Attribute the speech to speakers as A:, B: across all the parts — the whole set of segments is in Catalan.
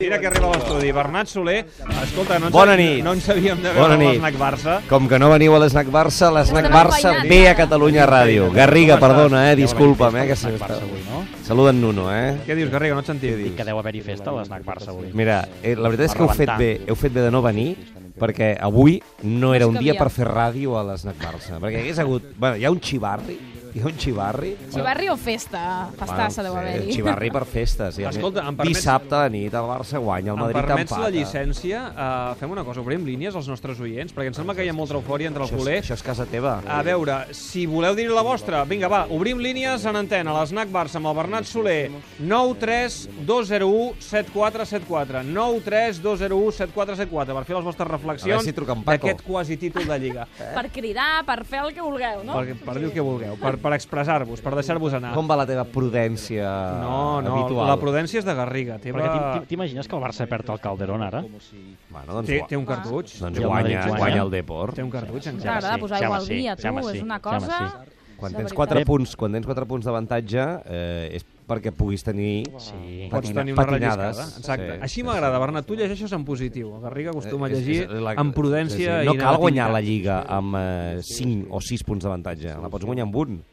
A: Mira que arriba a l'estudi. Bernat Soler, escolta, no ens,
B: Bona nit.
A: No ens havíem de
B: Bona
A: veure a
B: nit.
A: l'Snac Barça.
B: Com que no veniu a l'Snac Barça, l'Snac
C: Estem
B: Barça
C: enfeinats.
B: ve a Catalunya Ràdio. Garriga,
A: Com estàs?
B: perdona, eh,
A: Ja
B: disculpa'm, eh, que
A: veurem
B: se-
A: l'Snac Barça avui, no?
B: Saluden Nuno, eh.
A: Què dius, Garriga? No et sentia dir.
D: Dic que deu haver-hi festa a l'Snac Barça avui.
B: Mira, eh, la veritat és que heu fet
D: Arrebentar.
B: bé, heu fet bé de no venir, perquè avui no era un dia
C: caviar.
B: per fer ràdio a l'Snac Barça, perquè hagués hagut... Bueno, hi ha un xivarri, hi ha un xivarri...
C: Xivarri o festa? Festassa deu
B: Bueno, sí,
C: haver-hi.
B: Xivarri per festes. I a mi-
A: Escolta, em permets-
B: Dissabte a la nit el Barça guanya, el
A: Em
B: Madrid
A: permets
B: empata.
A: la llicència? Uh, fem una cosa, obrim línies als nostres oients, perquè em sembla que hi ha molta eufòria entre el
B: Això
A: culer.
B: és, això és casa teva.
A: A veure, si voleu dir la vostra, vinga, va, obrim línies en antena, a l'Snac Barça amb el Bernat Soler, 932017474, 932017474, per fer les vostres
B: A veure si
A: reflexions
B: truca en Paco.
A: d'aquest quasi títol de Lliga.
C: Per cridar, per fer el que vulgueu, no?
A: Per, per dir el que vulgueu, per, per expressar-vos, per deixar-vos anar.
B: Com va la teva prudència
A: No, no,
B: Ah, habitual?
A: la prudència és de Garriga. Té,
D: Perquè t'im-
A: la...
D: t'im- t'imagines que el Barça perd el Calderón ara?
B: Bueno, doncs,
A: té,
B: gua-
A: té un cartutx.
B: doncs
D: I el
B: guanya,
D: Madrid guanya.
B: guanya el Depor.
A: Té un cartutx,
D: Ja
A: encara.
D: va,
C: T'agrada
D: sí,
C: posar
D: ja va,
C: igual
D: sí,
C: via,
D: ja
C: tu,
D: va, sí,
C: és una
D: ja va,
C: cosa...
B: Quan
C: La
B: tens,
C: veritat.
B: 4 punts, quan tens 4 punts d'avantatge eh, és perquè puguis tenir
D: Sí.
A: Pots
B: patina-
A: tenir una relliscada.
B: patinades.
A: Exacte.
B: Sí,
A: Així
B: sí,
A: m'agrada, Bernat. Tu llegeixes en positiu. El Garriga acostuma a
B: Eh, és-
A: llegir
B: és la-
A: amb prudència.
B: sí, sí.
A: i
B: No
A: anar
B: cal guanyar
A: tintant.
B: la Lliga amb eh, 5 o 6 punts d'avantatge. La pots guanyar amb un.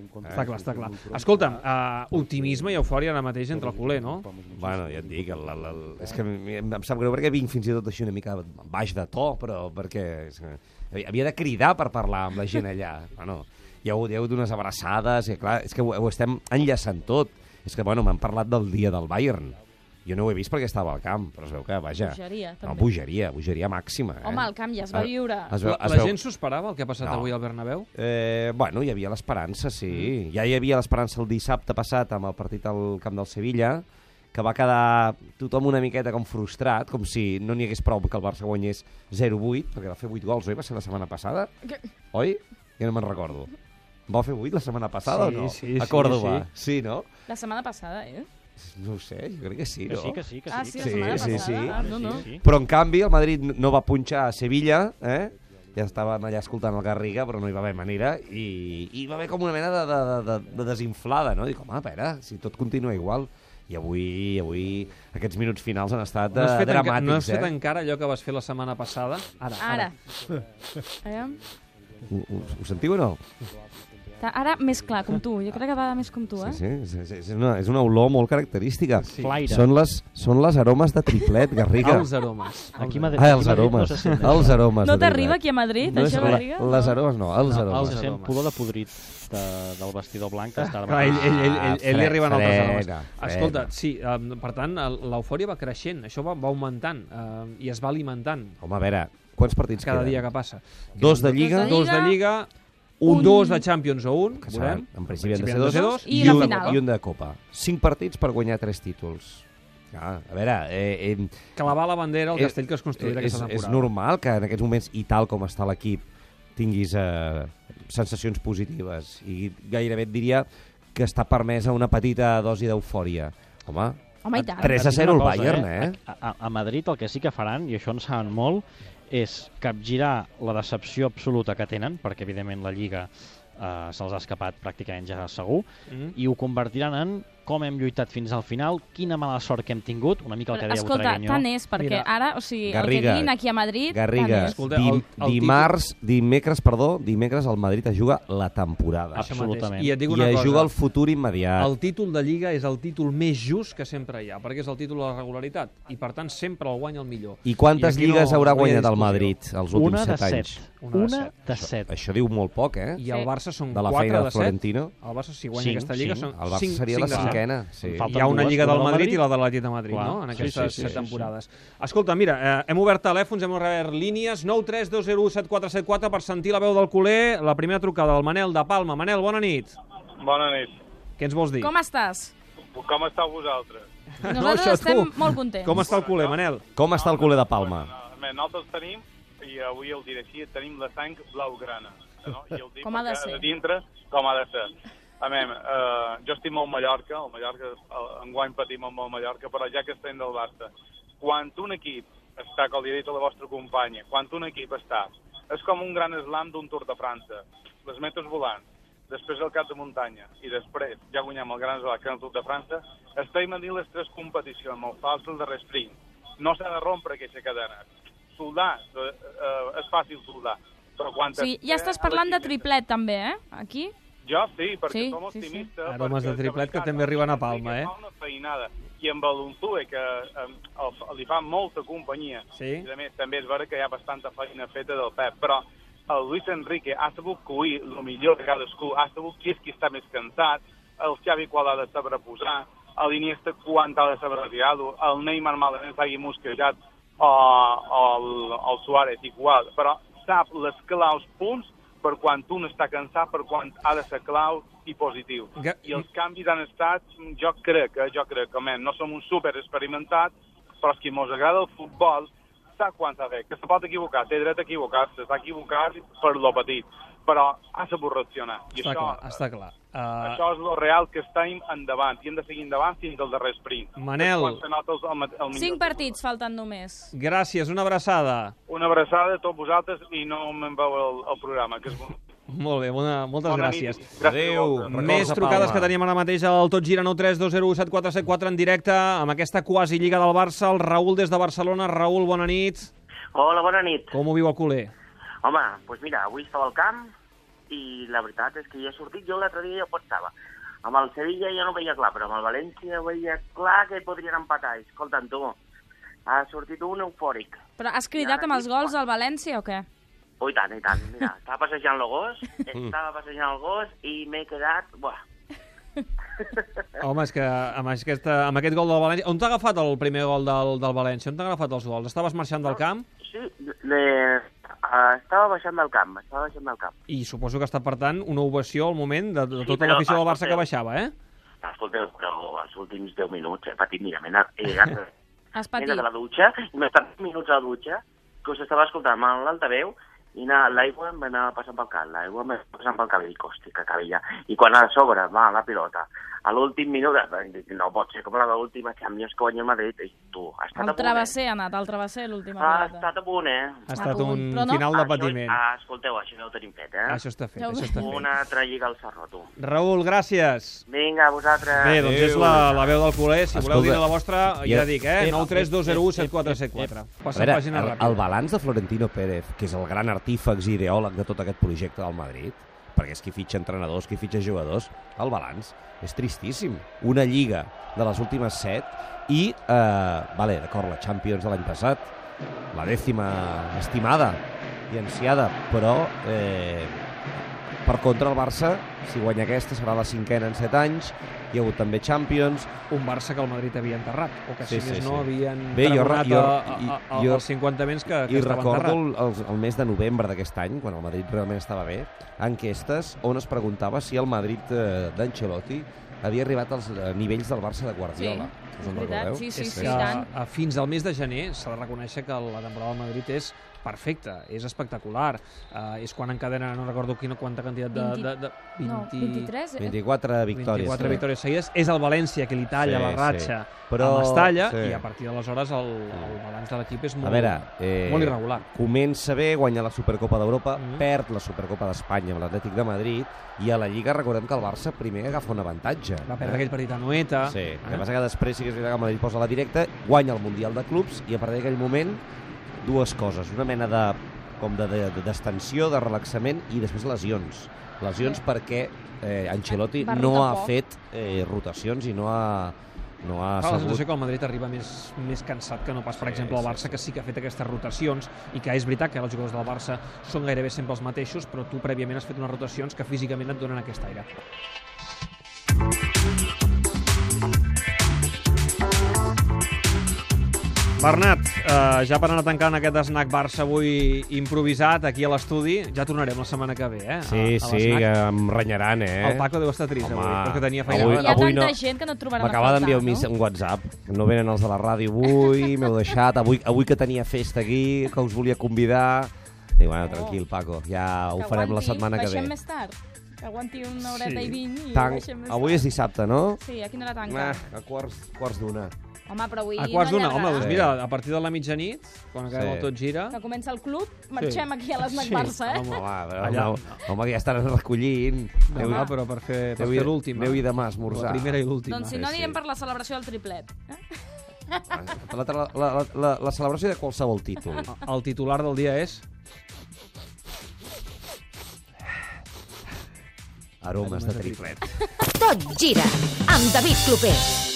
A: Està clar, està clar. Escolta'm, uh, optimisme i eufòria ara mateix entre el culer, no?
B: Bueno, ja et dic, el, el, el, és que mi- em em sap greu perquè vinc fins i tot així una mica baix de to, però perquè és que havia- havia de cridar per parlar amb la gent allà. Bueno, hi ha hagut, hi ha hagut unes abraçades, i clar, és que ho, ho estem enllaçant tot. És que, bueno, m'han parlat del dia del Bayern. Jo no ho he vist perquè estava al camp, però es veu que, vaja...
C: Bogeria, també.
B: No, bogeria, bogeria màxima. Eh?
C: Home, al camp ja es va
B: Es-
C: viure.
B: Es veu,
A: La,
B: es
A: la
B: veu,
A: gent s'ho esperava, el que ha passat
B: No.
A: avui al Bernabéu?
B: Eh, bueno, hi havia l'esperança, sí. Ja hi havia l'esperança el dissabte passat amb el partit al camp del Sevilla, que va quedar tothom una miqueta com frustrat, com si no n'hi hagués prou que el Barça guanyés 0-8, perquè va fer 8 gols, oi? Va ser la setmana passada?
C: Que-
B: Oi? Ja no me'n recordo. Va fer 8 la setmana passada
A: Sí,
B: o no?
A: sí,
B: A
A: sí,
B: Còrdoba. Sí, sí. no?
C: La setmana passada, eh?
B: No ho sé, jo crec que sí,
D: Que
B: no?
D: sí, que sí, que sí.
C: Ah, sí, la
D: que
C: setmana
B: Sí, sí,
C: passada.
B: sí.
C: Ah, no, no.
D: Sí, sí.
B: Però, en canvi, el Madrid no va punxar a Sevilla, eh? Ja estaven allà escoltant el Garriga, però no hi va haver manera, i, i hi va haver com una mena de, de, de, de, de desinflada, no? Dic, home, a veure, si tot continua igual... I avui, avui, aquests minuts finals han estat
A: No has,
B: eh,
A: fet enca-
B: dramàtics,
A: no has fet
B: eh?
A: encara allò que vas fer la setmana passada? Ara, ara.
C: Ara. Aviam.
B: Ho, ho, ho sentiu o no?
C: Ta- Ara més clar, com tu. Jo crec que va més com tu, eh?
B: Sí, sí, és, és, una, és una olor molt característica.
D: Sí. Flaire.
B: Són les, són les aromes de triplet, Garriga.
A: Els aromes.
D: Aquí m'ha de-
B: Ah, els
D: aquí m'ha de-
B: aromes.
D: No se sent,
B: Els aromes. de
C: No t'arriba
B: triplet.
C: aquí a Madrid,
B: eh? No és
C: això,
B: la-
C: Garriga?
B: Les aromes no, els
D: no,
B: aromes.
D: els sent
A: aromes.
D: pudor de podrit de, del vestidor blanc que està
A: Clar, ell, ell, ell, ell, ell li
B: Ah,
A: arriben altres
B: frena,
A: aromes.
B: frena.
A: Escolta, sí, um, per tant, el- l'eufòria va creixent, això va, va augmentant uh, i es va alimentant
B: Home, a veure, quants partits
A: cada
B: queden?
A: dia que passa.
B: Dos de Lliga,
C: Dos
A: Dos
C: de
A: de Lliga, un, dos de Champions o un,
B: que seran,
A: veurem.
B: en principi han de ser
A: han
B: dos,
C: dos, i la
B: un,
C: final.
B: i un de Copa. Cinc partits per guanyar tres títols. Ah, a veure, eh, eh,
A: Clavar la bandera al
B: Eh,
A: castell que es construirà
B: és,
A: aquesta
B: és
A: temporada.
B: normal que en aquests moments, i tal com està l'equip, tinguis eh, sensacions positives. I gairebé et diria que està permesa una petita dosi d'eufòria. Home,
C: Home, i tant.
D: Ah,
B: 3 a 0 el Bayern, eh?
D: A, a, a Madrid el que sí que faran, i això en saben molt, és capgirar la decepció absoluta que tenen, perquè evidentment la Lliga eh, se'ls ha escapat pràcticament ja segur,
B: Mhm.
A: Mm.
D: i ho convertiran en com hem lluitat fins al final, quina mala sort que hem tingut, una mica el que dèieu
C: Escolta,
D: Tragueño.
C: tant és, perquè
A: Mira.
C: ara, o sigui, el
B: Garriga,
C: que diguin aquí a Madrid,
B: Garriga,
C: tant és.
A: Escolta,
B: di,
A: el- el
B: dimarts, dimecres, perdó, dimecres el Madrid es juga la temporada.
A: Això mateix.
D: absolutament.
A: I et Ah, dic
B: I
A: una
B: es
A: cosa,
B: juga el futur immediat.
A: el títol de Lliga és el títol més just que sempre hi ha, perquè és el títol de la regularitat, i per tant sempre el guanya el millor.
B: I quantes
A: aquí
B: lligues
A: no- no hi
B: haurà
A: ha
B: guanyat el
A: discussió.
B: Madrid els últims
D: Una de
B: 7 anys?
D: set.
A: Una de
D: Una
A: set.
D: de set.
B: Això diu molt poc, eh?
A: I el
C: Sí.
A: Barça són
B: De la
A: 4
B: feina
A: de 7.
B: de Florentino.
A: El Barça, si guanya
D: Cinc,
A: aquesta Lliga,
D: cinc.
A: són
B: El Barça
A: 5,
B: seria la
A: 5 de set.
B: cinquena. Sí.
D: Falta-
A: Hi ha una
D: dues,
A: lliga
D: una
A: del
D: del
A: Madrid i
D: Madrid.
A: la de l'Atlètic de Madrid,
D: Clar.
A: no? En
D: Sí,
A: aquestes
D: sí, sí,
A: set
D: sí,
A: temporades. Escolta, mira, eh, hem obert telèfons, hem obert línies, 932017474 per sentir la veu del culer, la primera trucada del Manel de Palma. Manel, bona nit.
E: Bona nit.
A: Què ens vols dir?
C: Com estàs?
E: Com esteu vosaltres?
C: Nosaltres
A: això,
C: estem
A: tu.
C: molt contents.
A: Com està el culer, Manel?
B: Com està el culer de Palma?
E: Bé, nosaltres tenim, i avui el diré així, tenim la sang blaugrana. No? I el dic
C: Com ha de
E: perquè
C: ser.
E: De dintre, com ha de ser. A mi, eh, jo estim al Mallorca, el Mallorca, eh, enguany patim amb el Mallorca, però ja que estem del Barça, quan un equip està, com li he dit a la vostra companya, quan un equip està, és com un gran slam d'un Tour de França, les metes volant, després el cap de muntanya, i després ja guanyem el Gran Zelà, que el Tour de França, estem a dir les tres competicions, amb el fals del darrer sprint. No s'ha de rompre aquesta cadena. Soldar, eh, eh, és fàcil soldar, però quan...
C: O sigui, ja estàs parlant de triplet, també, eh? Aquí?
E: Jo sí, perquè
C: Sí,
E: som
C: sí, sí.
E: optimistes.
A: Ara,
E: perquè
A: homes de
E: la
A: triplet que
E: veritat,
A: també arriben a
E: el Enrique
A: Palma, eh?
E: Fa una feinada. I amb el Untue, que em, el, fa- li fa molta companyia.
A: Sí.
E: I a més, també és vera que hi ha bastanta feina feta del Pep, però el Luis Enrique ha sabut coir el millor de cadascú, ha sabut qui és qui està més cansat, el Xavi quan ha de saber posar, l'Iniesta quan ha de saber retirar-lo, el Neymar malament s'hagi mosquejat, o, o el, el Suárez igual, però sap les claus punts per quan un està cansat, per quan ha de ser clau i positiu.
A: Ga-
E: I els canvis han estat, jo crec, eh, jo crec, home, no som un super experimentat, però és que mos agrada el futbol, sap quan s'ha de fer, que se pot equivocar, té dret a equivocar-se, s'ha equivocat per lo petit, però ha sabut reaccionar. I
A: Està
E: això,
A: clar, està clar. Uh,
E: això és lo real que estem endavant, i hem de seguir endavant fins al darrer sprint.
A: Manel.
E: Quan se nota el, el, el millor
C: Cinc
E: jugador.
C: partits falten només.
A: gràcies, una abraçada.
E: Una abraçada a tots vosaltres i no me'n veu el, el programa, que és bon.
A: Molt bé, bona, moltes
E: Bona nit.
A: gràcies.
E: Gràcies a
B: Adéu.
E: vosaltres.
B: Records
A: Més
B: a
A: trucades
B: Palma.
A: que teníem ara mateix al Tot Gira 932017474 en directe amb aquesta quasi lliga del Barça, el Raül des de Barcelona. Raül, bona nit.
F: Hola, bona nit.
A: Com ho viu el culer?
F: Home, doncs mira, avui estava al camp i la veritat és que ja he sortit, jo l'altre dia ja ho pensava. Amb el Sevilla ja no ho veia clar, però amb el València veia clar que podrien empatar. I, Escolta'm, tu, ha sortit un eufòric.
C: Però has cridat amb els gols del València o què?
F: Oh, i tant, i tant. Mira, estava passejant el gos, estava passejant el gos i m'he quedat... Buah,
A: Home, és que amb, aquesta, amb aquest gol del València... On t'ha agafat el primer gol del, del València? On t'ha agafat els gols? Estaves marxant del camp
F: sí, le... eh, estava baixant del camp, estava baixant del camp.
A: i suposo que està, per tant, una ovació al moment de, de
F: Sí,
A: tota
F: però,
A: l'afició del Barça
F: escolteu.
A: que baixava, eh?
F: Escolteu, però els últims 10 minuts he patit, mira, m'he anat... he anat-
C: Has
F: He anat
C: patit.
F: a la dutxa, i m'he estat 10 minuts a la dutxa, que us estava escoltant amb l'altaveu, i na- l'aigua em va anar passant pel cap, l'aigua em va passant pel cabell, que hosti, que cabella. I quan a sobre va la pilota, a l'últim minut, em dic, no pot ser com la de l'última Champions que guanya el Madrid, i tu, ha estat
C: El
F: a punt, eh?
C: travesser ha anat, el travesser, l'última
F: Ha
C: vegada.
F: estat a punt, eh?
A: Ha estat
C: punt,
A: un
C: però no.
A: final de
F: Això-
A: patiment.
F: ah, escolteu, això ja ho tenim fet, eh?
A: Això està fet,
C: Ja ho
A: això està fet.
F: Una altra lliga al Sarró, tu.
A: Raül, gràcies.
F: Vinga, vosaltres.
A: Bé, doncs és la, la veu del culer. Si voleu
B: Escolta,
A: dir la vostra, ja
B: ja-
A: dic, eh?
D: Ep,
A: 932017474.
B: eh, A
A: Passa
B: veure,
A: pàgina
B: el, el
A: ràpida.
B: balanç de Florentino Pérez, que és el gran artífex i ideòleg de tot aquest projecte del Madrid, perquè és qui fitxa entrenadors, qui fitxa jugadors, el balanç és tristíssim. Una lliga de les últimes set i, eh, vale, d'acord, la Champions de l'any passat, la dècima estimada i ansiada, però eh, per contra el Barça, si guanya aquesta, serà la cinquena en set anys, hi ha hagut també Champions,
A: Un Barça que el Madrid havia enterrat, o que si
B: Sí, sí,
A: més
B: sí.
A: no havien
B: Bé, jo
A: tremolat
B: re- jo-
A: a- a- a-
B: i- jo-
A: als 50 vents que, que
B: I
A: estava
B: recordo
A: enterrat.
B: el, el, el mes de novembre d'aquest any, quan el Madrid realment estava bé, enquestes on es preguntava si el Madrid eh, d'Ancelotti havia arribat als eh, nivells del Barça de Guardiola.
C: Sí,
B: Us
C: és
B: en
C: veritat,
B: recordeu?
C: sí, sí,
A: És
C: sí,
A: que,
C: i tant.
A: a- fins al mes de gener s'ha de reconèixer que la temporada del Madrid és perfecta, és espectacular. Eh, és quan encadena, no recordo quina quanta quantitat de... de, de
C: No, 23, eh?
B: 24 victòries.
A: 24
B: sí.
A: victòries seguides. És el València qui li talla
B: Sí,
A: la
B: sí.
A: ratxa
B: Però-
A: a Mestalla
B: sí.
A: i a partir d'aleshores el, el balanç de l'equip és molt,
B: A veure, eh,
A: molt irregular.
B: comença bé, guanya la Supercopa d'Europa,
A: Mhm.
B: perd la Supercopa d'Espanya amb l'Atlètic de Madrid i a la Lliga recordem que el Barça primer agafa un avantatge.
A: Va perdre aquell partit a Noeta.
B: Sí, eh? el que
A: Eh?
B: passa que després sí que és veritat que el Madrid posa la directa, guanya el Mundial de Clubs i a partir d'aquell moment dues coses, una mena de com de de- d'extensió, de, de relaxament i després lesions. Lesions
C: Sí.
B: perquè eh, Ancelotti
C: Va
B: no
C: rotar
B: ha
C: poc.
B: fet eh, rotacions i no ha, no ha
A: Fa Ah, la sensació
B: sabut...
A: que el Madrid arriba més, més cansat que no pas, per
B: Sí,
A: exemple, el
B: sí,
A: Barça,
B: sí.
A: que sí que ha fet aquestes rotacions i que és veritat que els jugadors del Barça són gairebé sempre els mateixos, però tu prèviament has fet unes rotacions que físicament et donen aquest aire. Bernat, eh, ja per anar tancant aquest snack Barça avui improvisat aquí a l'estudi, ja tornarem la setmana que ve, eh? a- a l'esnac.
B: em renyaran, eh?
A: El Paco deu estar trist
B: Home,
A: avui, perquè tenia
C: Hi
A: feina.
B: avui-
C: ha tanta
B: avui no.
C: gent que no et trobarà
B: M'acaba d'enviar un,
C: no?
B: miss- un WhatsApp. No venen els de la ràdio avui, m'heu deixat. Avui, avui que tenia festa aquí, que us volia convidar... Diu, bueno, tranquil, Paco, ja ho
C: Que
B: farem la
C: aguanti,
B: setmana que ve.
C: Baixem més tard. Que aguanti una horeta
B: Sí.
C: i vint i
B: Tan...
C: baixem més
B: Avui és
C: tard.
B: dissabte, no?
C: Sí, a quina hora tanca?
B: Ah, a quarts, quarts d'una.
C: Home, però avui
A: A quarts d'una, home,
C: m'allargarà.
A: doncs mira, a partir de la mitjanit, quan acabem
B: Sí.
A: el tot gira...
C: Que comença el club, marxem aquí a l'Snac Barça, eh?
A: Home,
B: Home, va, va,
A: Allà-
B: home, home, que ja estaran recollint.
A: Déu, no, però per fer, per
B: Déu i-
A: fer l'última.
B: Déu i demà esmorzar.
A: La primera i l'última.
C: Doncs si
B: Sí,
C: no
B: sí.
C: anirem per la celebració del triplet. Eh?
B: Ah, La, la, la, la, la celebració de qualsevol títol.
A: El titular del dia és...
B: Aromes de triplet.
G: Tot gira amb David Clopés.